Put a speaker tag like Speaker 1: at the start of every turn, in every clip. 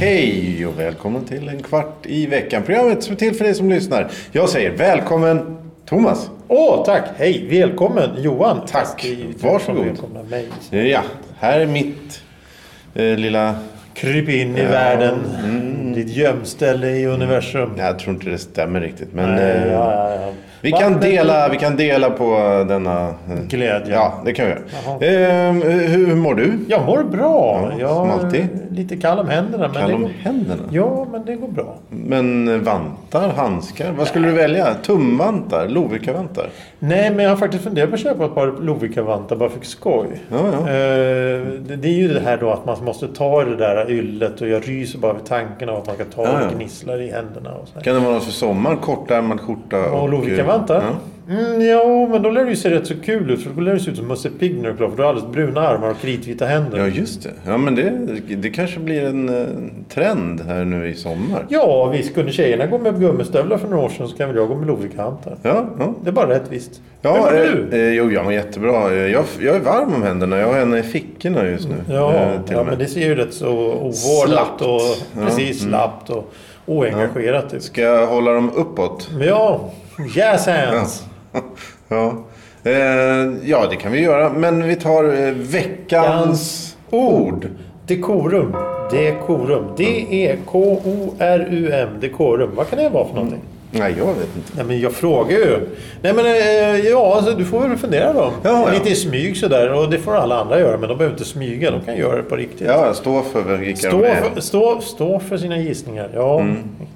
Speaker 1: Hej och välkommen till en kvart i veckan. Programmet som är till för dig som lyssnar. Jag säger välkommen Thomas.
Speaker 2: Åh, tack! Hej! Välkommen Johan!
Speaker 1: Tack.
Speaker 2: Fast i-
Speaker 1: Varsågod.
Speaker 2: Välkomna mig.
Speaker 1: Ja, här är mitt eh, lilla...
Speaker 2: Kryp in i världen.
Speaker 1: Mm.
Speaker 2: Ditt gömställe i universum.
Speaker 1: Jag tror inte det stämmer riktigt. Men,
Speaker 2: Nej,
Speaker 1: eh,
Speaker 2: ja, ja, ja.
Speaker 1: Vi,
Speaker 2: Va,
Speaker 1: kan
Speaker 2: men-
Speaker 1: dela, vi kan dela på denna... eh,
Speaker 2: Glädje.
Speaker 1: Ja, det kan vi
Speaker 2: Jaha.
Speaker 1: göra. Ehm, hur, hur mår du?
Speaker 2: Jag mår bra.
Speaker 1: Ja,
Speaker 2: jag
Speaker 1: som
Speaker 2: är
Speaker 1: alltid.
Speaker 2: lite kall om händerna. Men
Speaker 1: Kall
Speaker 2: det
Speaker 1: om
Speaker 2: går...
Speaker 1: händerna?
Speaker 2: Ja, men det går bra.
Speaker 1: Men eh, vantar, handskar? Vad skulle du välja? Tumvantar? Lovikkavantar?
Speaker 2: Nej, men jag har faktiskt funderat på att köpa ett par Lovikkavantar bara för skoj.
Speaker 1: Ja, ja.
Speaker 2: Eh, det, det är ju det här då att man måste ta det där yllet och jag ryser bara vid tanken av att man kan ta
Speaker 1: Ja, ja.
Speaker 2: och gnisslar i händerna. Och så här.
Speaker 1: Kan det vara något för sommar? Kortärmad skjorta? eh,
Speaker 2: Och Lovikkavantar?
Speaker 1: Ja.
Speaker 2: Mm, ja, men då lär det ju se rätt så kul ut. För då lär det se ut som Musse Pigg när du är klar. För du har alldeles bruna armar och kritvita händer.
Speaker 1: Ja,
Speaker 2: Ja,
Speaker 1: just det. Ja, men det, det kanske blir en eh, trend här nu i sommar.
Speaker 2: visst kunde tjejerna gå med gummistövlar för några år sedan så kan väl jag gå med Lovikkavantar.
Speaker 1: Ja, ja.
Speaker 2: Det är bara rättvist. Hur
Speaker 1: ja
Speaker 2: mår
Speaker 1: eh,
Speaker 2: du?
Speaker 1: eh, jo, jag mår jättebra. Eh, Jag, jag är varm om händerna. Jag har henne i fickorna just nu.
Speaker 2: Ja,
Speaker 1: eh, till
Speaker 2: ja
Speaker 1: och
Speaker 2: men
Speaker 1: med.
Speaker 2: det ser ju rätt så ovårdat
Speaker 1: Slappt.
Speaker 2: och
Speaker 1: Ja, mm.
Speaker 2: precis slappt och oengagerat ut.
Speaker 1: Ska jag hålla dem uppåt? Alltså.
Speaker 2: Men ja, yes hands!
Speaker 1: Ja. Eh, ja, det kan vi göra. Men vi tar eh, veckans ord.
Speaker 2: Dekorum. Dekorum. E D-E-K-O-R-U-M. Dekorum. Vad kan det vara för någonting?
Speaker 1: Nej, jag vet inte.
Speaker 2: Nej men jag frågar ju. Nej men eh, ja, alltså, du får väl fundera då.
Speaker 1: Ja, ja.
Speaker 2: Lite i smyg sådär. Och det får alla andra göra. Men de behöver inte smyga. De kan göra det på riktigt.
Speaker 1: Ja, jag Mm. står för vilka
Speaker 2: Stå,
Speaker 1: de är.
Speaker 2: för, stå, stå för sina gissningar. Ja,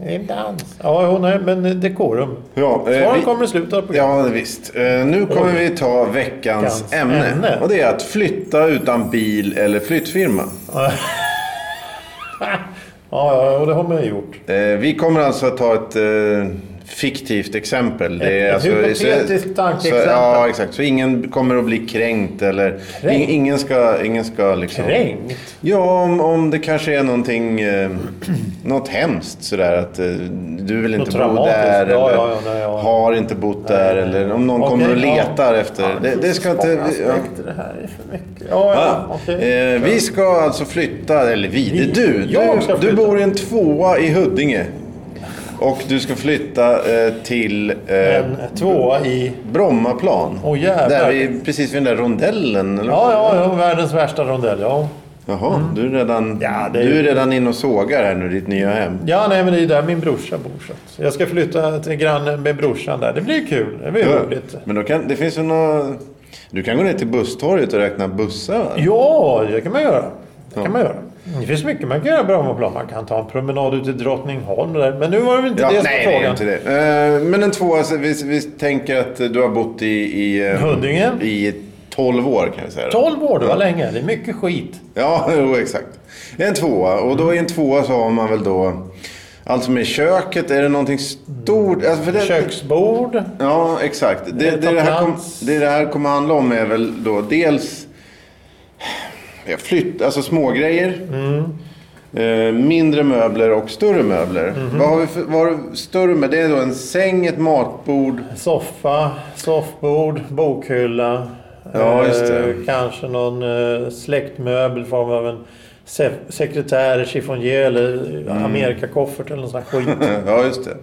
Speaker 2: det är en dans. Ja, jo, nej, men eh, dekorum.
Speaker 1: Ja, eh,
Speaker 2: Svaren
Speaker 1: vi-
Speaker 2: kommer i slutet av programmet.
Speaker 1: Ja, visst. Eh, Nu kommer vi ta veckans
Speaker 2: Veckans
Speaker 1: ämne.
Speaker 2: ämne.
Speaker 1: Och det är att flytta utan bil eller flyttfirma.
Speaker 2: Ja, ja, och det har man ju gjort.
Speaker 1: Eh, Vi kommer alltså att ta ett eh, fiktivt exempel. Det alltså-
Speaker 2: Ett- ett hypotetiskt tankeexempel.
Speaker 1: Så, ja, exakt. Så ingen kommer att bli kränkt eller...
Speaker 2: Kränkt?
Speaker 1: ing- Ingen ska, ingen ska liksom...
Speaker 2: Kränkt?
Speaker 1: Ja, om, om det kanske är någonting... Eh, något hemskt sådär att eh, du vill inte bo
Speaker 2: traumatiskt.
Speaker 1: där eller
Speaker 2: Ja, ja, ja, nej, ja.
Speaker 1: har inte bott där eller om någon
Speaker 2: Okej,
Speaker 1: kommer och
Speaker 2: ja.
Speaker 1: letar efter... det, det ska inte...
Speaker 2: Många
Speaker 1: ja.
Speaker 2: aspekter, det här är för mycket. Ja, ja,
Speaker 1: Ja.
Speaker 2: Ah, okej.
Speaker 1: Eh, vi ska alltså flytta, eller vi, det är du.
Speaker 2: Jag ska
Speaker 1: Du, du
Speaker 2: flytta.
Speaker 1: bor i en tvåa i Huddinge. Och du ska flytta eh, till eh,
Speaker 2: En tvåa i...
Speaker 1: Mm. Brommaplan.
Speaker 2: Åh, jävlar.
Speaker 1: där vi, precis vid den där rondellen. Eller?
Speaker 2: Ja, ja, ja, världens värsta rondell. Ja.
Speaker 1: Jaha, du, är redan,
Speaker 2: Ja, det är-
Speaker 1: du är redan inne och sågar här nu, ditt nya hem.
Speaker 2: Ja, nej, men det är där min brorsa bor. Så. att- så jag ska flytta till grannen med brorsan där. Det blir kul. Det blir roligt.
Speaker 1: Men då kan, det finns ju några... Du kan gå ner till busstorget och räkna bussar. va?
Speaker 2: Ja, det kan man göra. Det kan man göra. Det finns mycket man kan göra på Brommaplan. Man kan ta en promenad ut till Drottningholm. och Där. Men nu var det väl inte
Speaker 1: Ja,
Speaker 2: det som
Speaker 1: nej,
Speaker 2: var
Speaker 1: det är
Speaker 2: frågan.
Speaker 1: inte det. Eh, men en tvåa, så vi, vi tänker att du har bott i... i eh,
Speaker 2: Huddinge.
Speaker 1: I 12 år kan vi säga.
Speaker 2: 12 år, det var länge. Det är mycket skit.
Speaker 1: Ja, jo, exakt. En tvåa. Och då i en tvåa så har man väl då... Allt som är i köket, är det någonting stort?
Speaker 2: Mm.
Speaker 1: Alltså för det,
Speaker 2: Köksbord.
Speaker 1: Ja, exakt. Det,
Speaker 2: Eh,
Speaker 1: det, det, här kom,
Speaker 2: plats.
Speaker 1: det det här kommer handla om är väl då dels ja, flytt, alltså smågrejer.
Speaker 2: Mm.
Speaker 1: Eh, mindre möbler och större möbler.
Speaker 2: Mm-hmm.
Speaker 1: Vad har vi för, vad har du- större med? Det är då en säng, ett matbord.
Speaker 2: Soffa, soffbord, bokhylla.
Speaker 1: Ja, just det.
Speaker 2: Eh, kanske någon eh, släktmöbel i form av en se- sekretär, chiffonjé eller
Speaker 1: Mm.
Speaker 2: eh, amerikakoffert eller någon sån här skit.
Speaker 1: ja, just det.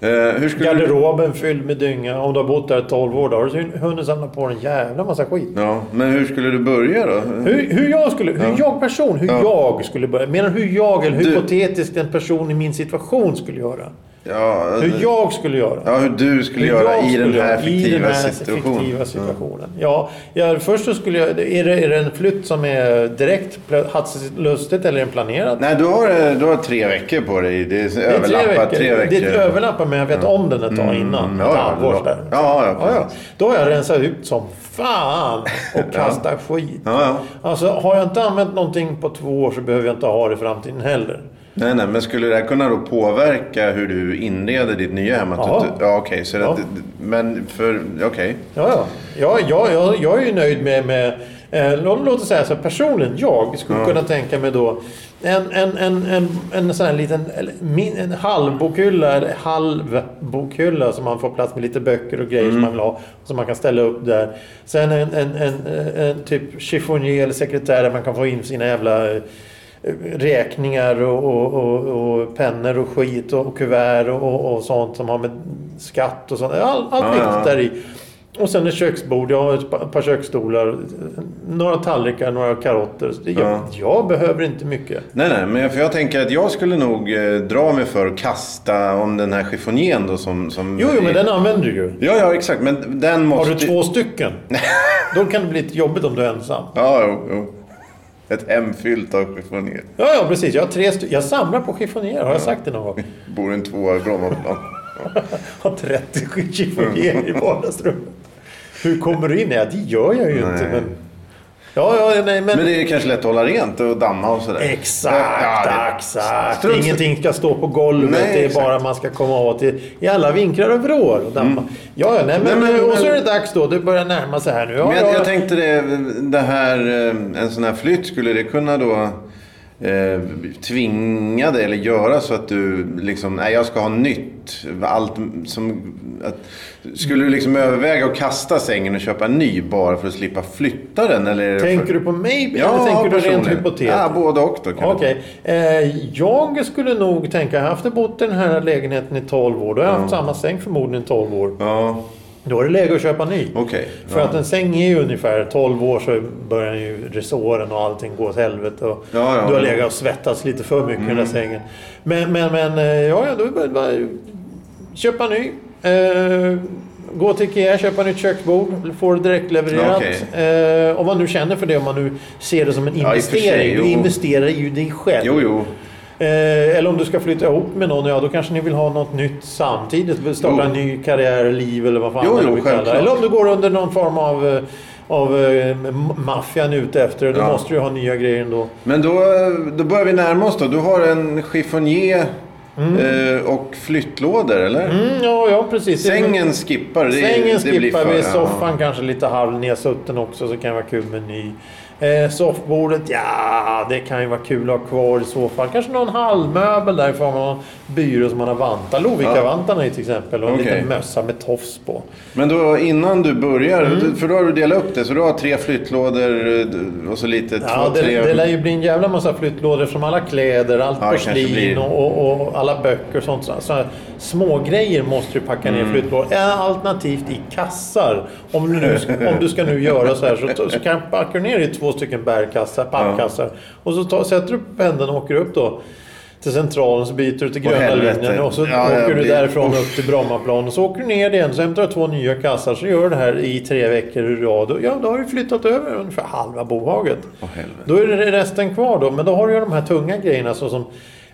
Speaker 1: Eh, hur skulle du...
Speaker 2: Garderoben fylld med dynga. Om du har bott där 12 år, då har du hunnit samla på dig en jävla massa skit.
Speaker 1: Ja, men hur skulle du börja då?
Speaker 2: Hur, hur jag skulle, hur jag person, hur jag skulle börja. Menar du hur jag eller
Speaker 1: Du-
Speaker 2: hypotetiskt en person i min situation skulle göra?
Speaker 1: Ja,
Speaker 2: Hur jag skulle göra?
Speaker 1: ja, hur du skulle
Speaker 2: Hur
Speaker 1: Mm. göra
Speaker 2: jag
Speaker 1: i den
Speaker 2: skulle
Speaker 1: här
Speaker 2: göra
Speaker 1: fiktiva
Speaker 2: i den här
Speaker 1: situationen.
Speaker 2: fiktiva situationen. Ja, ja, först så skulle jag... Är det, är det en flytt som är direkt plö- hastigt lustigt eller är den planerad?
Speaker 1: Nej, du har, eh, du har tre veckor på dig. Det är
Speaker 2: Det är
Speaker 1: överlappar tre veckor. Mm.
Speaker 2: Det är ett överlappar, men jag vet om den ett tag innan.
Speaker 1: ja,
Speaker 2: ett
Speaker 1: ja,
Speaker 2: halvår
Speaker 1: ja.
Speaker 2: där.
Speaker 1: Ja, ja,
Speaker 2: ja,
Speaker 1: precis.
Speaker 2: Då har jag rensat ut som fan och kastat skit.
Speaker 1: Ja, ja.
Speaker 2: Alltså, har jag inte använt någonting på två år så behöver jag inte ha det i framtiden heller.
Speaker 1: Nej, nej, men skulle det här kunna då påverka hur du inreder ditt nya hem? Att
Speaker 2: Ja.
Speaker 1: du, ja, okej. så
Speaker 2: Ja.
Speaker 1: Att, men för... Okej.
Speaker 2: Ja, ja. ja jag, jag, jag är ju nöjd med, med Eh, lå- låt oss säga så här, personligen, jag skulle kunna tänka mig då en, en, en, en, en sån här liten eller min, en halvbokhylla, eller halvbokhylla som man får plats med lite böcker och grejer som
Speaker 1: Mm.
Speaker 2: man vill ha. Som man kan ställa upp där. Sen en, en, en, eh, en typ chiffonier eller sekretär där man kan få in sina jävla eh, räkningar och, och, och, och pennor och skit och, och kuvert och, och, och sånt som har med skatt och sånt. All, allt
Speaker 1: Ja,
Speaker 2: viktigt
Speaker 1: ja.
Speaker 2: där i. Och sen ett köksbord, jag har ett pa- par köksstolar, några tallrikar, några karotter. Så det- Jag,
Speaker 1: Ja.
Speaker 2: jag behöver inte mycket.
Speaker 1: Nej, nej, men jag, för jag tänker att jag skulle nog eh, dra mig för att kasta om den här chiffonjén då som... som
Speaker 2: Jo, jo, men den använder du ju.
Speaker 1: Ja, ja, exakt. Men den
Speaker 2: Har
Speaker 1: måste...
Speaker 2: du två stycken, då kan det bli lite jobbigt om du är ensam.
Speaker 1: Ja, jo, jo. Ett hem fyllt av chiffonjé.
Speaker 2: Ja, ja, precis. Jag har tre stycken. Jag samlar på chiffonjärer, har jag sagt det någon gång?
Speaker 1: Bor en tvåa i Brommaplan.
Speaker 2: har 30 chiffonjärer i
Speaker 1: Mm.
Speaker 2: vardagsrummet. Hur kommer du in? Nej, det gör jag ju inte.
Speaker 1: Nej.
Speaker 2: Men... Ja, ja, nej, men...
Speaker 1: Men det är kanske lätt att hålla rent och damma och sådär.
Speaker 2: Exakt,
Speaker 1: det-
Speaker 2: exakt.
Speaker 1: strunt-
Speaker 2: Ingenting ska stå på golvet.
Speaker 1: Nej,
Speaker 2: det är
Speaker 1: exakt. Mm.
Speaker 2: bara man ska komma åt i, i alla vinklar och vrår. Och damma. Ja, ja, nej, men,
Speaker 1: Nej, men-
Speaker 2: och så är det
Speaker 1: men-
Speaker 2: dags då. Det börjar närma sig här nu. Ja,
Speaker 1: Men
Speaker 2: ja,
Speaker 1: jag, jag tänkte det, det här, eh, en sån här flytt, skulle det kunna då eh, tvinga dig eller göra så att du liksom, nej jag ska ha nytt. Allt som, att, skulle du liksom överväga att kasta sängen och köpa en ny bara för att slippa flytta den? Eller är det
Speaker 2: tänker
Speaker 1: för...
Speaker 2: du på mig eller tänker du rent
Speaker 1: personligen.
Speaker 2: hypotetiskt?
Speaker 1: Ja, både och då. kan
Speaker 2: Okej. Eh, jag skulle nog tänka, jag har haft bott i den här lägenheten i 12 år. Då har jag haft samma säng förmodligen i 12 år.
Speaker 1: det- Ja,
Speaker 2: Då är det läge att köpa ny.
Speaker 1: okej.
Speaker 2: För att en säng är ju ungefär 12 år så börjar ju resåren och allting gå åt helvete. Och
Speaker 1: Ja, ja. Mm.
Speaker 2: du har legat och svettats lite för mycket i den där sängen. Men, men, men eh, ja, ja, då är det bara köpa ny. Eh, gå till Ikea, köpa nytt köksbord. Får det direktlevererat.
Speaker 1: Okej.
Speaker 2: Eh, om man nu känner för det, om man nu ser det som en
Speaker 1: Ja, i och för sig,
Speaker 2: investering.
Speaker 1: jo.
Speaker 2: du investerar ju i dig själv.
Speaker 1: Jo, jo.
Speaker 2: Eh, eller om du ska flytta ihop med någon, ja då kanske ni vill ha något nytt samtidigt. Starta
Speaker 1: Jo.
Speaker 2: en ny karriär, liv eller vad fan
Speaker 1: Jo,
Speaker 2: det
Speaker 1: jo,
Speaker 2: vi kallar det.
Speaker 1: självklart.
Speaker 2: Eller om du går under någon form av, eh, av eh, m- maffian ute efter det, då
Speaker 1: Ja.
Speaker 2: måste du ju ha nya grejer ändå.
Speaker 1: Men då, då börjar vi närma oss då. Du har en chiffonjé eh, och flyttlådor, eller?
Speaker 2: Mm, ja, ja, precis. Det-
Speaker 1: Sängen skippar. Det,
Speaker 2: Sängen
Speaker 1: det blir
Speaker 2: skippar
Speaker 1: för-
Speaker 2: vi,
Speaker 1: ja.
Speaker 2: soffan kanske lite halv nedsutten också så kan det vara kul med en ny. Eh, soffbordet, ja det kan ju vara kul att ha kvar i så fall. Kanske någon halvmöbel där i form av någon byrå som man har vantar. Lovikkavantarna i till exempel och en
Speaker 1: Okej.
Speaker 2: liten mössa med tofs på.
Speaker 1: Men då innan du börjar,
Speaker 2: Mm.
Speaker 1: du- för då har du delat upp det. Så du har tre flyttlådor eh, d- och så lite
Speaker 2: Ja,
Speaker 1: två,
Speaker 2: det,
Speaker 1: tre...
Speaker 2: det lär ju bli en jävla massa flyttlådor från alla kläder, allt
Speaker 1: Ja, det kanske
Speaker 2: porslin
Speaker 1: blir-
Speaker 2: och, och, och alla böcker och sånt. Så, så här, små grejer måste du packa
Speaker 1: Mm.
Speaker 2: ner i flyttlådor. Ja, Alternativt i kassar. Om du, nu, om du ska nu göra så här så, så kan packa du ner i två stycken bärkassar, pappkassar. Och så tar, sätter du pendeln och åker upp då till centralen så byter du till
Speaker 1: Åh,
Speaker 2: gröna
Speaker 1: helvete.
Speaker 2: linjen och så
Speaker 1: Ja, ja,
Speaker 2: åker du
Speaker 1: det-
Speaker 2: därifrån
Speaker 1: usch.
Speaker 2: upp till Brommaplan och så åker du ner igen så hämtar du två nya kassar så gör du det här i tre veckor i rad. Och Ja, då har du flyttat över ungefär halva bohaget.
Speaker 1: Åh, helvete.
Speaker 2: Då är det resten kvar då, men då har du ju de här tunga grejerna så som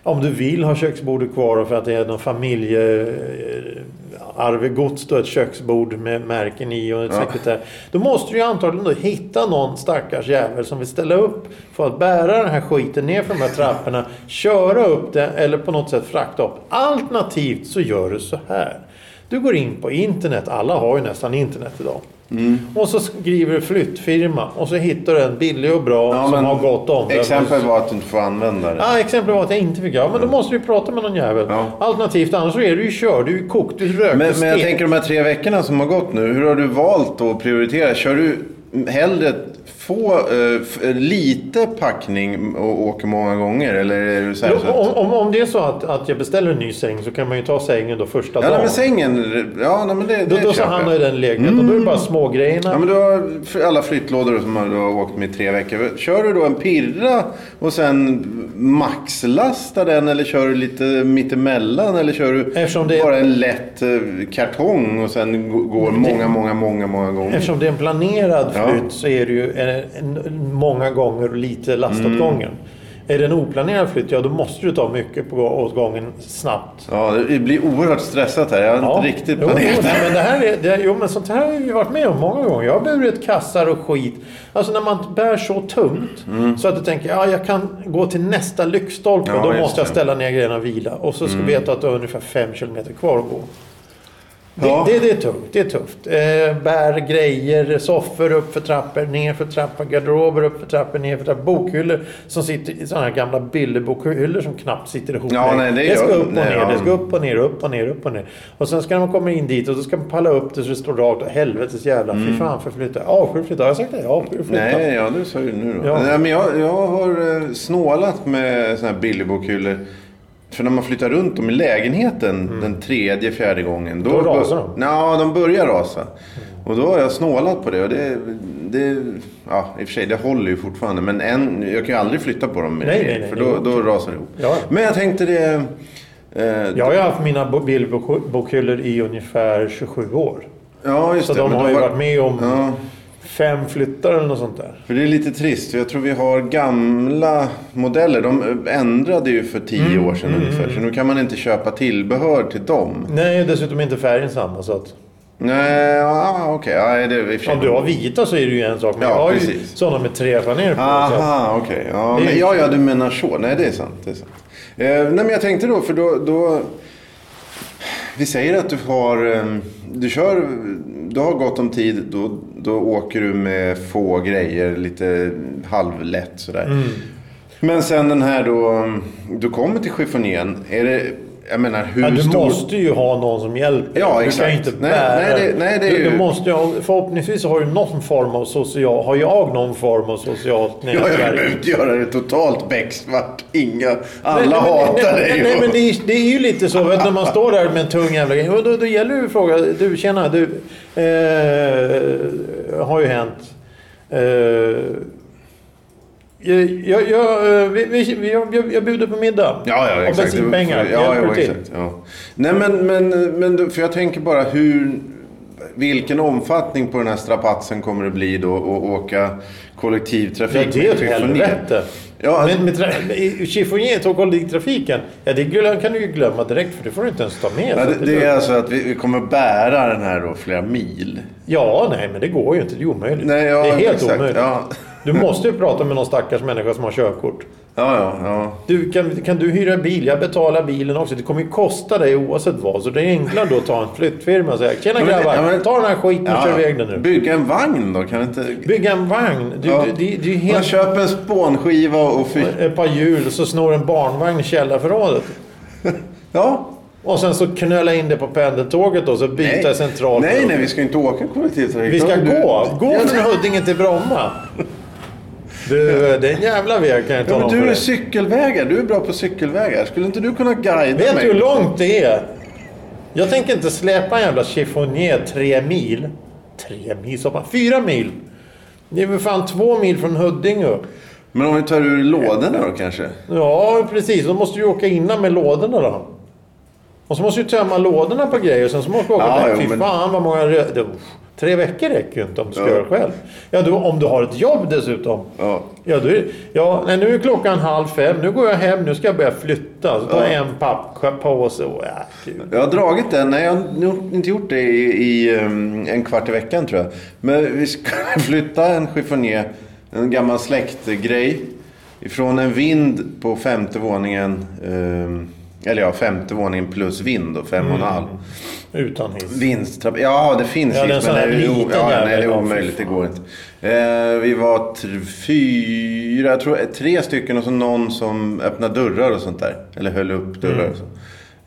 Speaker 2: om du vill ha köksbordet kvar och för att det är någon familjearvegods då, ett köksbord med märken i och ett
Speaker 1: Ja.
Speaker 2: sekretär. Då måste du ju antagligen då hitta någon stackars jävel som vill ställa upp för att bära den här skiten ner för de här trapporna, köra upp det eller på något sätt frakta upp. Alternativt så gör du så här. Du går in på internet, alla har ju nästan internet idag.
Speaker 1: Mm.
Speaker 2: Och så skriver du flyttfirma och så hittar du en billig och bra
Speaker 1: Ja,
Speaker 2: som
Speaker 1: men
Speaker 2: har gott omdöme.
Speaker 1: Exempel var att du inte får använda det.
Speaker 2: Ja, exemplet var att jag inte fick göra. Men då måste du ju prata med någon jävel.
Speaker 1: Ja.
Speaker 2: Alternativt annars så är du ju körd, du är ju kokt, du är rökt
Speaker 1: Men,
Speaker 2: och
Speaker 1: men jag
Speaker 2: stekt.
Speaker 1: tänker de här tre veckorna som har gått nu. Hur har du valt då att prioritera? Kör du hellre få eh, f- lite packning och åker många gånger? Eller är du så här? så
Speaker 2: Jo,
Speaker 1: att-
Speaker 2: om, om, om det är så att, att jag beställer en ny säng så kan man ju ta sängen då första
Speaker 1: Ja,
Speaker 2: dagen.
Speaker 1: nej, men sängen. Ja, nej, men det,
Speaker 2: då
Speaker 1: det
Speaker 2: då så
Speaker 1: köper jag. Mm.
Speaker 2: hamnar ju den i lägenheten. Då är det bara smågrejerna.
Speaker 1: Ja, men du har för alla flyttlådor som du har åkt med i tre veckor. Kör du då en pirra och sen maxlastar den eller kör du lite mittemellan? Eller kör du
Speaker 2: Eftersom det-
Speaker 1: bara en lätt eh, kartong och sen g- går många, många, många, många gånger?
Speaker 2: Eftersom det är en planerad
Speaker 1: Ja.
Speaker 2: flytt så är det ju en, en, många gånger och lite lastat
Speaker 1: Mm.
Speaker 2: gången. Är det en oplanerad flytt, ja då måste du ta mycket på, åt gången snabbt.
Speaker 1: Ja, det blir oerhört stressat här. Jag har
Speaker 2: Ja.
Speaker 1: inte riktigt
Speaker 2: jo, jo,
Speaker 1: planerat.
Speaker 2: nej, men det här är, det, Jo, men sånt här har vi varit med om många gånger. Jag har burit kassar och skit. Alltså när man bär så tungt så att du tänker ja, jag kan gå till nästa lyktstolpe och
Speaker 1: Mm. Ja,
Speaker 2: då
Speaker 1: just
Speaker 2: måste jag
Speaker 1: det. Mm.
Speaker 2: ställa ner grejerna och vila. Och så ska du veta att du har ungefär 5 kilometer kvar att gå.
Speaker 1: Ja.
Speaker 2: Det, det, det är tungt, det är tufft. Eh, bär grejer, soffor upp för trappor, ner för trappor, garderober upp för trappor, ner för trappor. Bokhyllor som sitter i sådana här gamla bilderbokhyllor som knappt sitter ihop.
Speaker 1: Ja, nej, det
Speaker 2: ska
Speaker 1: gör-
Speaker 2: upp och
Speaker 1: nej,
Speaker 2: ner,
Speaker 1: ja.
Speaker 2: det ska upp och ner, upp och ner, upp och ner. Och sen ska man komma in dit och då ska man palla upp det så det står rakt. och Helvetes jävla, fy fan förflytta. Avskyr flytta, har jag sagt det? Avskyr flytta.
Speaker 1: Mm. Nej, ja du sa ju nu då.
Speaker 2: Ja.
Speaker 1: Nej, men jag, jag har eh, snålat med såna här billigbokhyllor. För när man flyttar runt dem i lägenheten den tredje, fjärde gången.
Speaker 2: Mm. Då
Speaker 1: bör-
Speaker 2: rasar de. Mm.
Speaker 1: Ja, de börjar rasa. Och då har jag snålat på det. Och det, det ja, I och för sig, det håller ju fortfarande. Men en, jag kan ju aldrig flytta på dem. med
Speaker 2: Nej,
Speaker 1: det,
Speaker 2: nej, nej,
Speaker 1: för
Speaker 2: det
Speaker 1: då,
Speaker 2: går
Speaker 1: då rasar det ihop.
Speaker 2: Ja.
Speaker 1: Men jag tänkte det... Eh,
Speaker 2: Jag har ju haft mina bo- bilderbokhyllor i ungefär 27 år.
Speaker 1: ja, just
Speaker 2: Så
Speaker 1: det.
Speaker 2: de
Speaker 1: men
Speaker 2: har
Speaker 1: då
Speaker 2: ju
Speaker 1: var-
Speaker 2: varit med om
Speaker 1: Ja.
Speaker 2: fem flyttar eller något sånt där.
Speaker 1: För det är lite trist. för Jag tror vi har gamla modeller. De ändrade ju för tio
Speaker 2: Mm.
Speaker 1: år sedan ungefär. Så nu kan man inte köpa tillbehör till dem.
Speaker 2: Nej, dessutom är inte färgen samma. Så att,
Speaker 1: Nej, ah, okej. Ja, det är i och för sig-
Speaker 2: om du har vita så är det ju en sak. Men
Speaker 1: Ja,
Speaker 2: jag har ju
Speaker 1: precis.
Speaker 2: sådana med tre faner på. Så att,
Speaker 1: Aha, okej. Ja, men, ja, ja, du menar så. Nej, det är sant. Det är sant. Eh, nej, men jag tänkte då, för då... då vi säger att du har... eh, Du kör... Du har gott om tid. Då, då åker du med få grejer. Lite halvlätt sådär.
Speaker 2: Mm.
Speaker 1: Men sen den här då... Du kommer till chiffonjén. Är det... Jag menar, hur
Speaker 2: men du
Speaker 1: stor...
Speaker 2: måste ju ha någon som hjälper
Speaker 1: Ja,
Speaker 2: Du kan
Speaker 1: exakt.
Speaker 2: ju inte
Speaker 1: Nej,
Speaker 2: bära.
Speaker 1: nej, det- nej, det är
Speaker 2: du, du
Speaker 1: ju-
Speaker 2: måste ju, ha- förhoppningsvis har du någon form av social... Har jag någon form av socialt
Speaker 1: Ja,
Speaker 2: nätverk?
Speaker 1: jag vill inte göra det totalt becksvart. Inga... Alla
Speaker 2: Nej, nej, men-
Speaker 1: hatar
Speaker 2: nej,
Speaker 1: dig.
Speaker 2: Nej,
Speaker 1: och-
Speaker 2: men det är, det är ju lite så. Vet, du, när man står där med en tung jävla grej. och Då, då gäller det ju att fråga. Du, tjena. Du, eh, har ju hänt. Eh, jag, jag, eh, vi, vi, jag, jag, jag bjuder på middag.
Speaker 1: Ja, ja,
Speaker 2: Och
Speaker 1: exakt.
Speaker 2: bensinpengar.
Speaker 1: Ja,
Speaker 2: Hjälper
Speaker 1: ja,
Speaker 2: du till?
Speaker 1: exakt. Ja. Nej, men, men, men då- för jag tänker bara hur... Vilken omfattning på den här strapatsen kommer det bli då att åka
Speaker 2: Ja,
Speaker 1: kollektivtrafik?
Speaker 2: det är
Speaker 1: med
Speaker 2: ett
Speaker 1: chiffonjé?
Speaker 2: helvete.
Speaker 1: Ja, alltså-
Speaker 2: Men med tra- med chiffoniet och kollektivtrafiken, ja det glö- kan du ju glömma direkt för det får du inte ens ta med.
Speaker 1: Ja,
Speaker 2: Så
Speaker 1: det, det är alltså att vi vi kommer bära den här då flera mil.
Speaker 2: Ja, nej, men det går ju inte. Det är omöjligt.
Speaker 1: Nej, ja,
Speaker 2: det är helt
Speaker 1: exakt,
Speaker 2: omöjligt.
Speaker 1: ja.
Speaker 2: Du måste ju prata med någon stackars människa som har körkort.
Speaker 1: Ja, ja, ja.
Speaker 2: Du, kan, kan du hyra bil? Jag betalar bilen också. Det kommer ju kosta dig oavsett vad. Så det är enklare då att ta en flyttfirma och säga Tjena
Speaker 1: men det-
Speaker 2: grabbar,
Speaker 1: ja, men-
Speaker 2: ta den här skiten och
Speaker 1: ja.
Speaker 2: kör iväg den nu.
Speaker 1: Bygga en vagn då? Kan vi inte...
Speaker 2: Bygga en vagn. Du,
Speaker 1: Ja.
Speaker 2: du, det, det är
Speaker 1: Man
Speaker 2: ju helt...
Speaker 1: köper en spånskiva och... Fy...
Speaker 2: Ett par hjul och så snor en barnvagn i källarförrådet.
Speaker 1: Ja.
Speaker 2: Och sen så knöla in det på pendeltåget då, så byta central.
Speaker 1: nej, nej, vi ska inte åka kollektivtrafik.
Speaker 2: Vi ska
Speaker 1: Då-
Speaker 2: gå. Gå
Speaker 1: Ja,
Speaker 2: från Huddinge till Bromma. Du, det är en jävla väg kan jag
Speaker 1: Ja,
Speaker 2: tala
Speaker 1: men
Speaker 2: om för
Speaker 1: du är
Speaker 2: dig.
Speaker 1: cykelvägar. Du är bra på cykelvägar. Skulle inte du kunna guida
Speaker 2: Vet du
Speaker 1: mig?
Speaker 2: hur långt det är? Jag tänker inte släpa en jävla chiffonier tre mil. Tre mil? Så fan, fyra mil! Det är väl fan två mil från Huddinge upp.
Speaker 1: Men om vi tar ur lådorna då kanske?
Speaker 2: Ja, precis. Då måste du ju åka innan med lådorna då. Och så måste du tömma lådorna på grejer. Sen så måste du åka
Speaker 1: Ja,
Speaker 2: ja,
Speaker 1: jo,
Speaker 2: Fy
Speaker 1: men-
Speaker 2: fan vad många... rö- det- uff, Tre veckor räcker ju inte om du ska
Speaker 1: Ja.
Speaker 2: göra det själv. Ja, då, om du har ett jobb dessutom.
Speaker 1: Ja.
Speaker 2: Ja, då är, ja nej, nu är klockan halv fem. Nu går jag hem. Nu ska jag börja flytta. Så tar jag en papppåse och... Ja, gud.
Speaker 1: Jag har dragit den. Nej, jag har nog inte gjort det i, i um, en kvart i veckan tror jag. Men vi ska flytta en chiffonier, en gammal släktgrej. Ifrån en vind på femte våningen. ehm, eller ja, femte våningen plus vind då, fem
Speaker 2: Mm.
Speaker 1: och en halv.
Speaker 2: Utan hiss.
Speaker 1: Vinsttrapp... Ja, det finns
Speaker 2: Ja,
Speaker 1: hiss,
Speaker 2: den sån
Speaker 1: men
Speaker 2: här
Speaker 1: det är ju-
Speaker 2: liten
Speaker 1: ja,
Speaker 2: jävel.
Speaker 1: nej, det är
Speaker 2: Ja, fy
Speaker 1: omöjligt. Det
Speaker 2: fan.
Speaker 1: går inte. Eh, vi var tre, fyra, jag tror eh, tre stycken och så någon som öppnade dörrar och sånt där. Eller höll upp dörrar och så.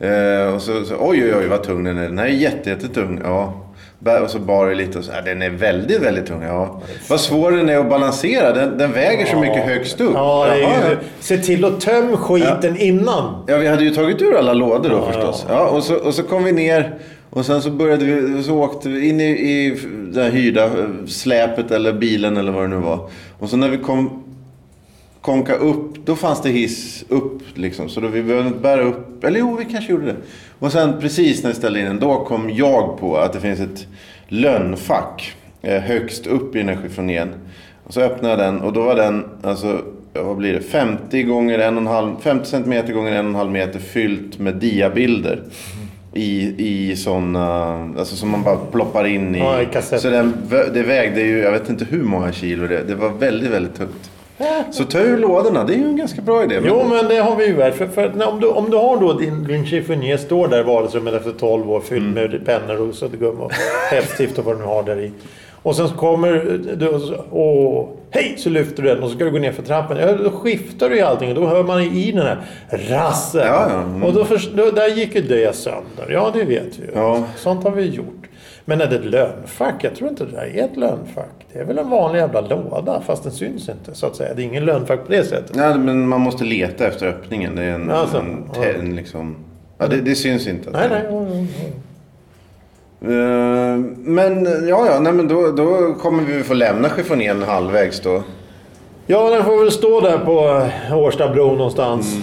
Speaker 1: Eh, och så, så oj, oj, oj vad tung den är. Den här är jätte, jättetung. Ja. Bär- Och så bar det lite och så, ja, den är väldigt, väldigt tung. Ja. Vad svår den är att balansera. Den, den väger så mycket högst upp.
Speaker 2: Ja, det
Speaker 1: Jaha,
Speaker 2: är
Speaker 1: ja.
Speaker 2: ju, se till att töm skiten innan.
Speaker 1: Ja, vi hade ju tagit ur alla lådor då förstås. Ja, och, så, och så kom vi ner och sen så började vi, så åkte vi in i, i det här hyrda eh, släpet eller bilen eller vad det nu var. Och så när vi kom konka upp, då fanns det hiss upp liksom. Så då vi behövde inte bära upp, eller jo vi kanske gjorde det. Och sen precis när jag ställde in den, då kom jag på att det finns ett lönnfack eh, högst upp i den här chiffonieren. Och så öppnade jag den och då var den, alltså ja, vad blir det, 50 gånger en och en halv, 50 centimeter gånger en och en halv meter fyllt med diabilder. I, i sådana, alltså som man bara ploppar in i.
Speaker 2: Ja, i kassett.
Speaker 1: så den, vä- det vägde ju, jag vet inte hur många kilo det, det var väldigt, väldigt tungt. Så ta ur lådorna, det är ju en ganska bra idé.
Speaker 2: Jo, men det har vi ju varit. För, för, när- om, du, om du har då din Vinci Funier står där i vardagsrummet efter 12 år fylld
Speaker 1: Mm.
Speaker 2: med pennor och suddgum och häftstift och vad du nu har där i. Och sen så kommer du och, så, åh, hej, så lyfter du den och så ska du gå ner för trappen. Ja, då skiftar du ju allting och då hör man i den här rassen.
Speaker 1: Ja, ja. Mm.
Speaker 2: Och då, först, då där gick ju det sönder. Ja, det vet vi ju.
Speaker 1: Ja.
Speaker 2: Sånt har vi gjort. Men är det ett lönnfack? Jag tror inte det där är ett lönnfack. Det är väl en vanlig jävla låda, fast den syns inte så att säga. Det är ingen lönnfack på det sättet.
Speaker 1: Nej, men man måste leta efter öppningen. Det är en...
Speaker 2: Alltså,
Speaker 1: en,
Speaker 2: ja.
Speaker 1: en liksom... Ja, det, det syns inte. att
Speaker 2: Nej,
Speaker 1: det-
Speaker 2: nej. ja, ja, ja.
Speaker 1: Eh, Men ja, ja, nej, men då, då kommer vi få lämna chiffonjén halvvägs då.
Speaker 2: Ja, den får väl stå där på eh, Årstabron någonstans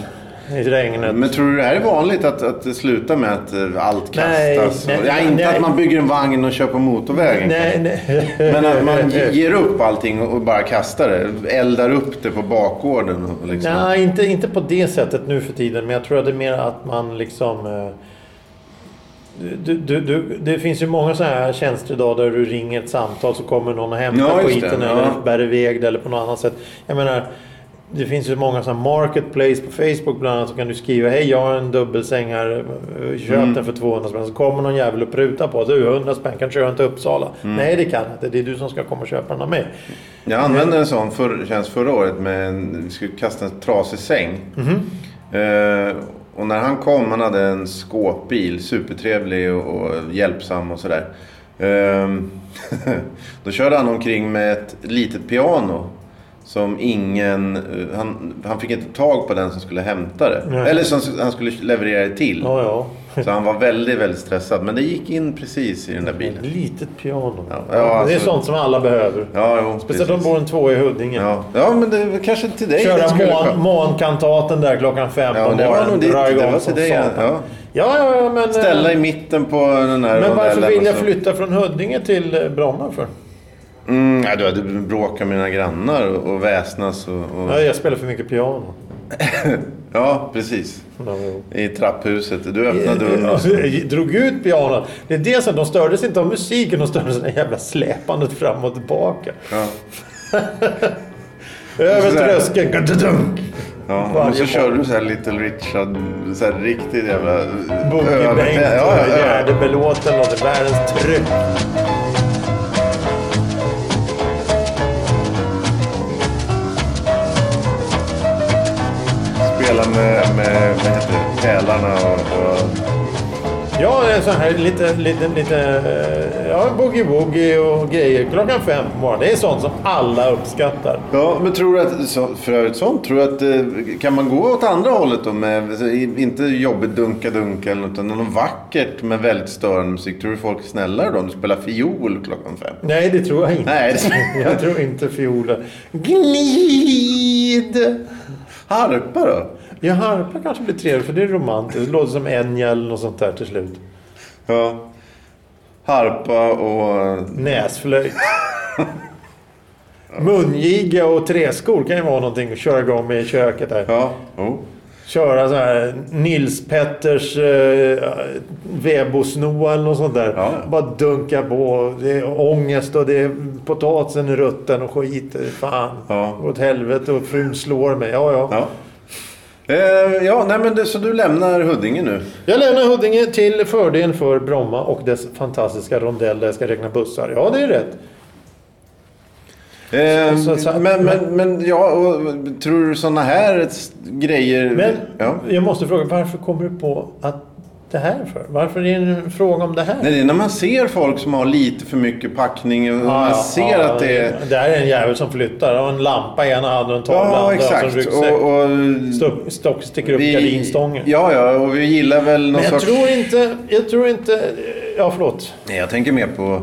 Speaker 1: Mm.
Speaker 2: i regnet.
Speaker 1: Men tror du det här är vanligt att, att det slutar med att eh, allt
Speaker 2: Nej,
Speaker 1: kastas?
Speaker 2: nej,
Speaker 1: ja, inte
Speaker 2: nej.
Speaker 1: att man bygger en vagn och kör på motorvägen.
Speaker 2: Nej, nej.
Speaker 1: Men att man ge- ger upp allting och och bara kastar det. Eldar upp det på bakgården. och Liksom.
Speaker 2: Nej, inte, inte på det sättet nu för tiden. Men jag tror att det är mer att man liksom... eh, Du, du, du, det finns ju många sådana här tjänster idag där du ringer ett samtal så kommer någon och hämtar
Speaker 1: Ja, just det,
Speaker 2: skiten
Speaker 1: ja.
Speaker 2: eller bär iväg det eller på något annat sätt. Jag menar, det finns ju många sådana här marketplace på Facebook bland annat så kan du skriva Hej, jag har en dubbelsäng här. eh, Köp
Speaker 1: Mm.
Speaker 2: den för 200 spänn. Så kommer någon jävel och prutar på. Du, 100 spänn kan köra den till Uppsala.
Speaker 1: Mm.
Speaker 2: Nej, det kan jag inte. Det är du som ska komma och köpa den av mig.
Speaker 1: Jag använde en sån för, tjänst förra året. Med en, vi skulle kasta en trasig säng.
Speaker 2: Mhm.
Speaker 1: Eh, och när han kom, han hade en skåpbil. Supertrevlig och, och hjälpsam och sådär. Eh, då körde han omkring med ett litet piano. Som ingen... eh, Han, han fick inte tag på den som skulle hämta det.
Speaker 2: Nej.
Speaker 1: Eller som han skulle leverera det till.
Speaker 2: Ja, ja.
Speaker 1: Så han var väldigt, väldigt stressad. Men det gick in precis i den där
Speaker 2: Ett
Speaker 1: bilen.
Speaker 2: litet piano.
Speaker 1: Ja, ja,
Speaker 2: det är
Speaker 1: alltså-
Speaker 2: sånt som alla behöver.
Speaker 1: Ja, jo,
Speaker 2: Speciellt om
Speaker 1: precis.
Speaker 2: de bor en två i Huddinge.
Speaker 1: Ja. ja, men det var kanske till dig den
Speaker 2: Köra
Speaker 1: skulle
Speaker 2: mån-
Speaker 1: komma.
Speaker 2: månkantaten där klockan fem
Speaker 1: Ja,
Speaker 2: på
Speaker 1: det var
Speaker 2: morgonen.
Speaker 1: nog ditt.
Speaker 2: dra igång
Speaker 1: Det var
Speaker 2: som
Speaker 1: till dig.
Speaker 2: satan.
Speaker 1: Ja.
Speaker 2: Ja, ja, ja, men... eh,
Speaker 1: Ställa i mitten på den här
Speaker 2: men varför
Speaker 1: rondellen
Speaker 2: vill
Speaker 1: och
Speaker 2: jag
Speaker 1: så-
Speaker 2: flytta från Huddinge till eh, Bromma för?
Speaker 1: Mm, ja, du hade bråkat med mina grannar och och väsnas. Och, och...
Speaker 2: Nej, jag spelar för mycket piano.
Speaker 1: Ja, precis.
Speaker 2: Ja, jo.
Speaker 1: I trapphuset. Du öppnade dörren. och-
Speaker 2: Alltså, jag drog ut pianot. Det är det som de stördes inte av musiken, de stördes av det jävla släpandet fram och tillbaka.
Speaker 1: Ja.
Speaker 2: Över
Speaker 1: Sådär.
Speaker 2: tröskeln. gadadunk.
Speaker 1: Ja.
Speaker 2: Varje
Speaker 1: Och så
Speaker 2: morgon.
Speaker 1: körde du så här Little Richard. Så här riktigt jävla... eh,
Speaker 2: Bunky
Speaker 1: över-
Speaker 2: Bengt.
Speaker 1: Ja, ja, ja.
Speaker 2: Gärdebelåten lade världens tryck.
Speaker 1: Spela med, med vad heter det, pälarna och... och...
Speaker 2: Ja, en sån här lite, lite, lite, eh, ja, boogie-woogie och grejer klockan fem på morgonen. Det är sånt som alla uppskattar.
Speaker 1: Ja, men tror du att, så- för övrigt sånt, tror du att eh, kan man gå åt andra hållet då med, så i- inte jobbigt dunka-dunka eller något, utan något vackert med väldigt störande musik? Tror du folk är snällare då om du spelar fiol klockan fem?
Speaker 2: Nej, det tror jag inte.
Speaker 1: Nej, det-
Speaker 2: Jag tror inte fioler. Glid!
Speaker 1: Harpa då?
Speaker 2: Ja, harpa kanske blir trevligt för det är romantiskt. Det låter som Enya eller något sånt där till slut.
Speaker 1: Ja. Harpa och...
Speaker 2: Näsflöjt. Mungiga och träskor kan ju vara någonting att köra igång med i köket där.
Speaker 1: Ja. Oh.
Speaker 2: köra så här Nils Petters eh, Vebosnoa eller något sånt där.
Speaker 1: Ja.
Speaker 2: Bara dunka på. Det är ångest och det är potatisen är rutten och skit. Fan.
Speaker 1: Ja.
Speaker 2: Åt helvete och frun slår mig. Ja, ja.
Speaker 1: Ja. Eh, ja, nej men det, så du lämnar Huddinge nu?
Speaker 2: Jag lämnar Huddinge till fördel för Bromma och dess fantastiska rondell där jag ska räkna bussar. Ja, det är rätt.
Speaker 1: Eh,
Speaker 2: Så- så-
Speaker 1: men, men, men ja, och, tror du sådana här s- grejer...
Speaker 2: Men
Speaker 1: ja.
Speaker 2: jag måste fråga, varför kommer du på att det här för? Varför är det en fråga om det här?
Speaker 1: Nej, det är när man ser folk som har lite för mycket packning och man ser att det är...
Speaker 2: Det här är en jävel som flyttar. Och en lampa i ena handen och en tavla i
Speaker 1: Ja,
Speaker 2: andra. och så
Speaker 1: exakt.
Speaker 2: en alltså, ryggsäck.
Speaker 1: Och, och
Speaker 2: Stock, stock sticker upp gardinstången.
Speaker 1: Ja, ja, och vi gillar väl någon
Speaker 2: Men jag
Speaker 1: sorts...
Speaker 2: tror inte... Jag tror inte... Ja, förlåt.
Speaker 1: Nej, jag tänker mer på...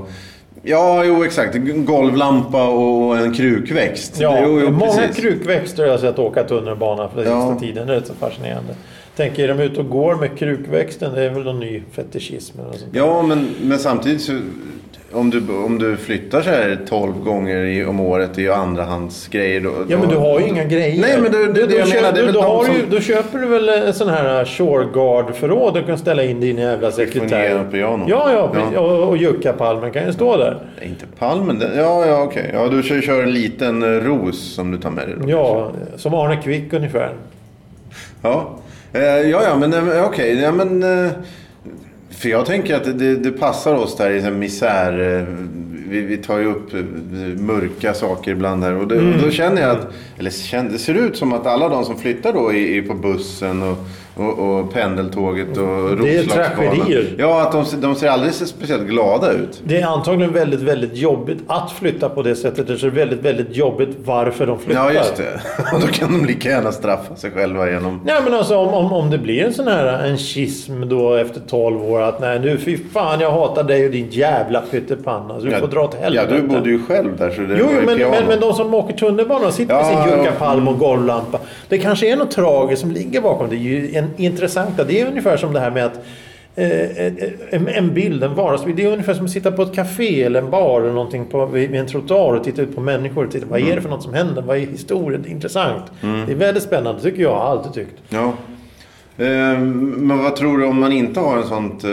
Speaker 1: Ja, jo, exakt. Golvlampa och en krukväxt.
Speaker 2: Ja,
Speaker 1: jo, jo,
Speaker 2: många
Speaker 1: precis.
Speaker 2: krukväxter har jag sett åka tunnelbana för den
Speaker 1: Ja.
Speaker 2: sista tiden. Det är rätt så fascinerande. Tänker, är de ute och går med krukväxten? Det är väl någon ny fetischism eller något sånt.
Speaker 1: Ja, men, men samtidigt så... Om du, om du flyttar så här 12 gånger i, om året i andrahandsgrejer då...
Speaker 2: Ja, men
Speaker 1: då-
Speaker 2: du har ju inga grejer.
Speaker 1: Nej, men det- det- det
Speaker 2: då,
Speaker 1: jag
Speaker 2: kö-
Speaker 1: menar, det är
Speaker 2: då,
Speaker 1: väl
Speaker 2: då,
Speaker 1: de
Speaker 2: har
Speaker 1: som-
Speaker 2: du, då köper du väl en sån här eh, Shoreguard-förråd och kan ställa in din jävla sekretär.
Speaker 1: Foniera piano.
Speaker 2: Ja, ja, precis.
Speaker 1: Ja.
Speaker 2: Och, och juckapalmen kan ju stå där.
Speaker 1: Nej, Inte palmen. den- Ja, ja, okej. Ja, du kör, kör en liten eh, ros som du tar med dig då.
Speaker 2: Ja, som Arne Kvick ungefär.
Speaker 1: Ja, Eh, ja, ja men eh, okej. Ja, men, eh, för jag tänker att det, det, det passar oss där i en misär. eh, Vi, vi tar ju upp eh, mörka saker ibland här. Och det,
Speaker 2: Mm.
Speaker 1: och då känner jag att, eller känner, det ser ut som att alla de som flyttar då i, i, på bussen och, och, och pendeltåget och
Speaker 2: Det är
Speaker 1: Roslagsbanan.
Speaker 2: tragedier.
Speaker 1: Ja, att de, ser- de ser aldrig så speciellt glada ut.
Speaker 2: Det är antagligen väldigt, väldigt jobbigt att flytta på det sättet. Det är så väldigt, väldigt jobbigt varför de flyttar.
Speaker 1: Ja, just det. Och då kan de lika gärna straffa sig själva genom
Speaker 2: Nej men alltså om, om, om det blir en sån här en schism då efter 12 år att nej nu fy fan jag hatar dig och din jävla pyttipanna. Så du får dra åt helvete.
Speaker 1: Ja, du bodde ju själv där. Så det
Speaker 2: Jo,
Speaker 1: var
Speaker 2: jo,
Speaker 1: ju
Speaker 2: men,
Speaker 1: piano.
Speaker 2: men, men de som åker tunnelbana och sitter med
Speaker 1: Ja, Mm.
Speaker 2: sin
Speaker 1: ja.
Speaker 2: juckapalm och golvlampa. Det kanske är något tragiskt som ligger bakom. Det är ju en, intressanta. Det är ungefär som det här med att eh, eh, en, en bild, en vardagsbild. Det är ungefär som att sitta på ett café eller en bar eller någonting på, vid vid en trottoar och titta ut på människor. Och titta, vad
Speaker 1: Mm.
Speaker 2: är det för något som händer? Vad är historien? Det är intressant. Det är väldigt spännande tycker jag. Har alltid tyckt.
Speaker 1: Ja. Ehm, Men vad tror du om man inte har en sånt eh,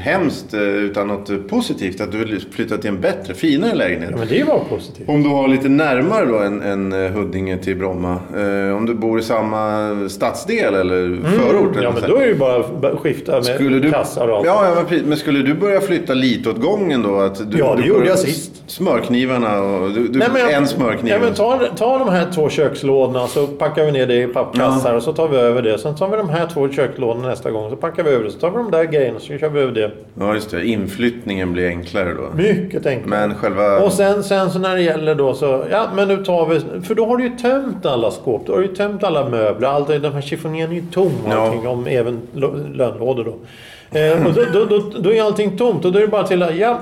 Speaker 1: hemskt eh, utan något eh, positivt? Att du vill flytta till en bättre, finare lägenhet?
Speaker 2: Ja, men det är ju bara positivt.
Speaker 1: Om du har lite närmare då än, än eh, Huddinge till Bromma. eh, Om du bor i samma stadsdel eller förort. eller
Speaker 2: Mm. Ja,
Speaker 1: något
Speaker 2: men
Speaker 1: sånt.
Speaker 2: då är det ju bara att skifta med
Speaker 1: Skulle du,
Speaker 2: kassar och
Speaker 1: ja,
Speaker 2: allt.
Speaker 1: ja, men, precis. men skulle du börja flytta lite åt gången då? Att du,
Speaker 2: Ja, det
Speaker 1: du
Speaker 2: gjorde
Speaker 1: börjar-
Speaker 2: jag sist.
Speaker 1: Smörknivarna och... Du, du,
Speaker 2: jag-
Speaker 1: en smörkniv.
Speaker 2: Ja, men ta, ta de här två kökslådorna så packar vi ner det i pappkassar och så tar vi över det. Sen tar vi de här två kökslådorna nästa gång så packar vi över det. Så tar vi de där grejerna så kör vi över det.
Speaker 1: Ja, just det. Inflyttningen blir enklare då.
Speaker 2: Mycket enkelt.
Speaker 1: Men själva...
Speaker 2: Och sen, sen så när det gäller då så, ja men nu tar vi, för då har du ju tömt alla skåp, då har du ju tömt alla möbler, allt, de här chiffonierna är ju tom och
Speaker 1: Ja.
Speaker 2: allting, om även lö- lönnlådor då. Eh, och då, då, då, då är allting tomt och då är det bara till att, ja,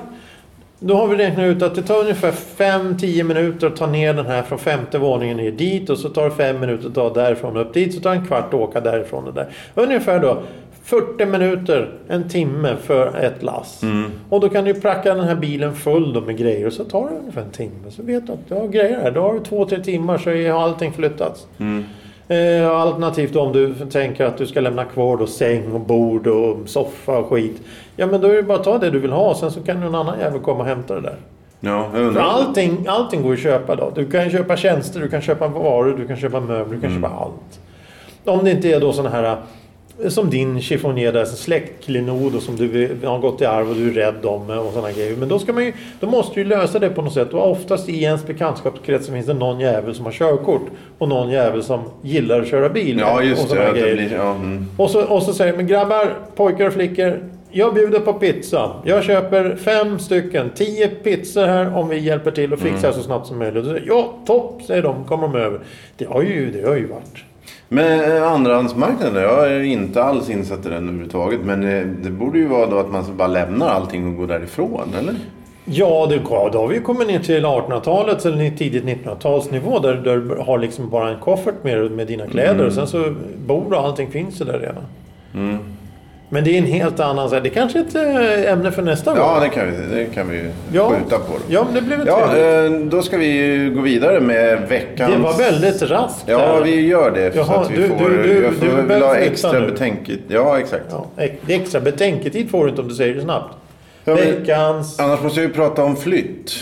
Speaker 2: då har vi räknat ut att det tar ungefär 5-10 minuter att ta ner den här från femte våningen ner dit och så tar det 5 minuter att ta därifrån upp dit, så tar det en kvart att åka därifrån och där. Ungefär då 40 minuter, en timme för ett lass. Och då kan du ju pracka den här bilen full då med grejer och så tar det ungefär en timme. Så vet du att du har grejer här. Då har du två, tre timmar så har allting flyttats. Eh, Alternativt om du tänker att du ska lämna kvar då säng och bord och soffa och skit. Ja men då är det bara att ta det du vill ha sen så kan någon annan jävel komma och hämta det där.
Speaker 1: Ja, jag
Speaker 2: För
Speaker 1: undrar.
Speaker 2: allting, allting går att köpa då. Du kan ju köpa tjänster, du kan köpa varor, du kan köpa möbler, du
Speaker 1: Mm.
Speaker 2: kan köpa allt. Om det inte är då sådana här eh, som din chiffonier där, som släktklenod och som du vill- har gått i arv och du är rädd om eh, och sådana grejer. Men då, ska man ju, då måste du ju lösa det på något sätt. Och oftast i ens bekantskapskrets så finns det någon jävel som har körkort och någon jävel som gillar att köra bil.
Speaker 1: Ja,
Speaker 2: och
Speaker 1: just
Speaker 2: såna
Speaker 1: det.
Speaker 2: här
Speaker 1: Ja, det
Speaker 2: grejer.
Speaker 1: blir, ja, mm.
Speaker 2: Och så, och så säger de, men grabbar, pojkar och flickor. Jag bjuder på pizza. Jag köper fem stycken, tio pizzor här om vi hjälper till och fixar
Speaker 1: Mm.
Speaker 2: så snabbt som möjligt. Och så säger, jag, ja, topp, säger de, kommer de över. Det har ju, det har ju varit.
Speaker 1: Men eh, andrahandsmarknaden, jag är inte alls insatt i den överhuvudtaget. Men eh, det borde ju vara då att man bara lämnar allting och går därifrån, eller?
Speaker 2: Ja, det, ja, då har vi kommit ner till 1800-talets eller tidigt 1900-talsnivå där där du har liksom bara en koffert med, med dina kläder
Speaker 1: Mm.
Speaker 2: och sen så bor och allting finns ju där redan. Men det är en helt annan... så här, Det kanske är ett eh, ämne för nästa
Speaker 1: Ja,
Speaker 2: gång.
Speaker 1: det kan vi, det kan vi ju
Speaker 2: Ja.
Speaker 1: skjuta på. Då.
Speaker 2: Ja, men det blev ett
Speaker 1: Ja,
Speaker 2: trevligt.
Speaker 1: eh, då ska vi ju gå vidare med veckans...
Speaker 2: Det var väldigt raskt.
Speaker 1: Ja,
Speaker 2: här.
Speaker 1: vi gör det. så
Speaker 2: Jaha,
Speaker 1: att vi
Speaker 2: du-
Speaker 1: får,
Speaker 2: du- du-
Speaker 1: jag
Speaker 2: du
Speaker 1: får väl
Speaker 2: behöver
Speaker 1: ha
Speaker 2: flytta
Speaker 1: extra
Speaker 2: nu.
Speaker 1: betänket. Ja, exakt.
Speaker 2: Ja, ex- extra betänketid får du inte om du säger det snabbt.
Speaker 1: Ja, men-
Speaker 2: Veckans...
Speaker 1: Annars måste vi ju prata om flytt.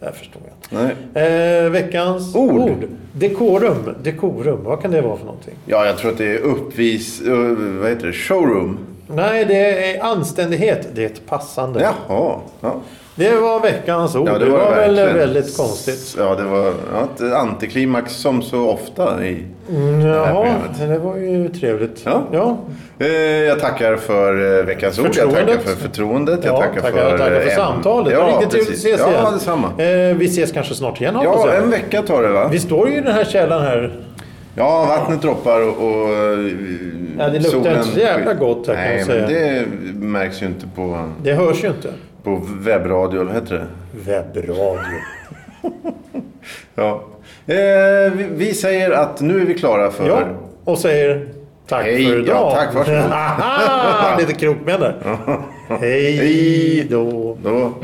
Speaker 2: Jag förstår jag inte.
Speaker 1: Nej.
Speaker 2: Eh, veckans
Speaker 1: Ord.
Speaker 2: Dekorum. Dekorum, vad kan det vara för någonting?
Speaker 1: Ja, jag tror att det är uppvis... eh, Vad heter det? Showroom.
Speaker 2: Nej, det är anständighet. Det är ett passande.
Speaker 1: Jaha. Ja.
Speaker 2: Det var veckans ord.
Speaker 1: Ja,
Speaker 2: det, var väl
Speaker 1: verkligen.
Speaker 2: väldigt konstigt.
Speaker 1: Ja, det var ja, ett antiklimax som så ofta. I...
Speaker 2: Mm, Jaha,
Speaker 1: programmet.
Speaker 2: det var ju trevligt.
Speaker 1: Ja. Eh, jag tackar för eh, veckans ord. Jag tackar
Speaker 2: Förtroendet.
Speaker 1: för förtroendet. Jag
Speaker 2: Ja,
Speaker 1: tackar,
Speaker 2: tackar,
Speaker 1: för,
Speaker 2: tackar för
Speaker 1: eh,
Speaker 2: samtalet. det
Speaker 1: Ja,
Speaker 2: var riktigt trevligt att
Speaker 1: precis.
Speaker 2: ses
Speaker 1: ja,
Speaker 2: igen.
Speaker 1: detsamma.
Speaker 2: Eh, vi ses kanske snart igen hoppas
Speaker 1: Ja,
Speaker 2: jag.
Speaker 1: en vecka tar det va?
Speaker 2: Vi står ju i den här källan här.
Speaker 1: Ja, vattnet droppar och, och eh,
Speaker 2: Ja, det luktar inte så jävla gott här, kan
Speaker 1: Nej,
Speaker 2: jag
Speaker 1: men
Speaker 2: säga.
Speaker 1: det märks ju inte på,
Speaker 2: Det hörs ju inte.
Speaker 1: på webbradio, eller vad heter det?
Speaker 2: Webbradio.
Speaker 1: Ja. Eh, vi, vi säger att nu är vi klara för...
Speaker 2: Ja, och säger Tack
Speaker 1: Hej,
Speaker 2: för
Speaker 1: ja,
Speaker 2: idag.
Speaker 1: tack, varsågod.
Speaker 2: Aha, Lite krokben där. Hej då.
Speaker 1: Då...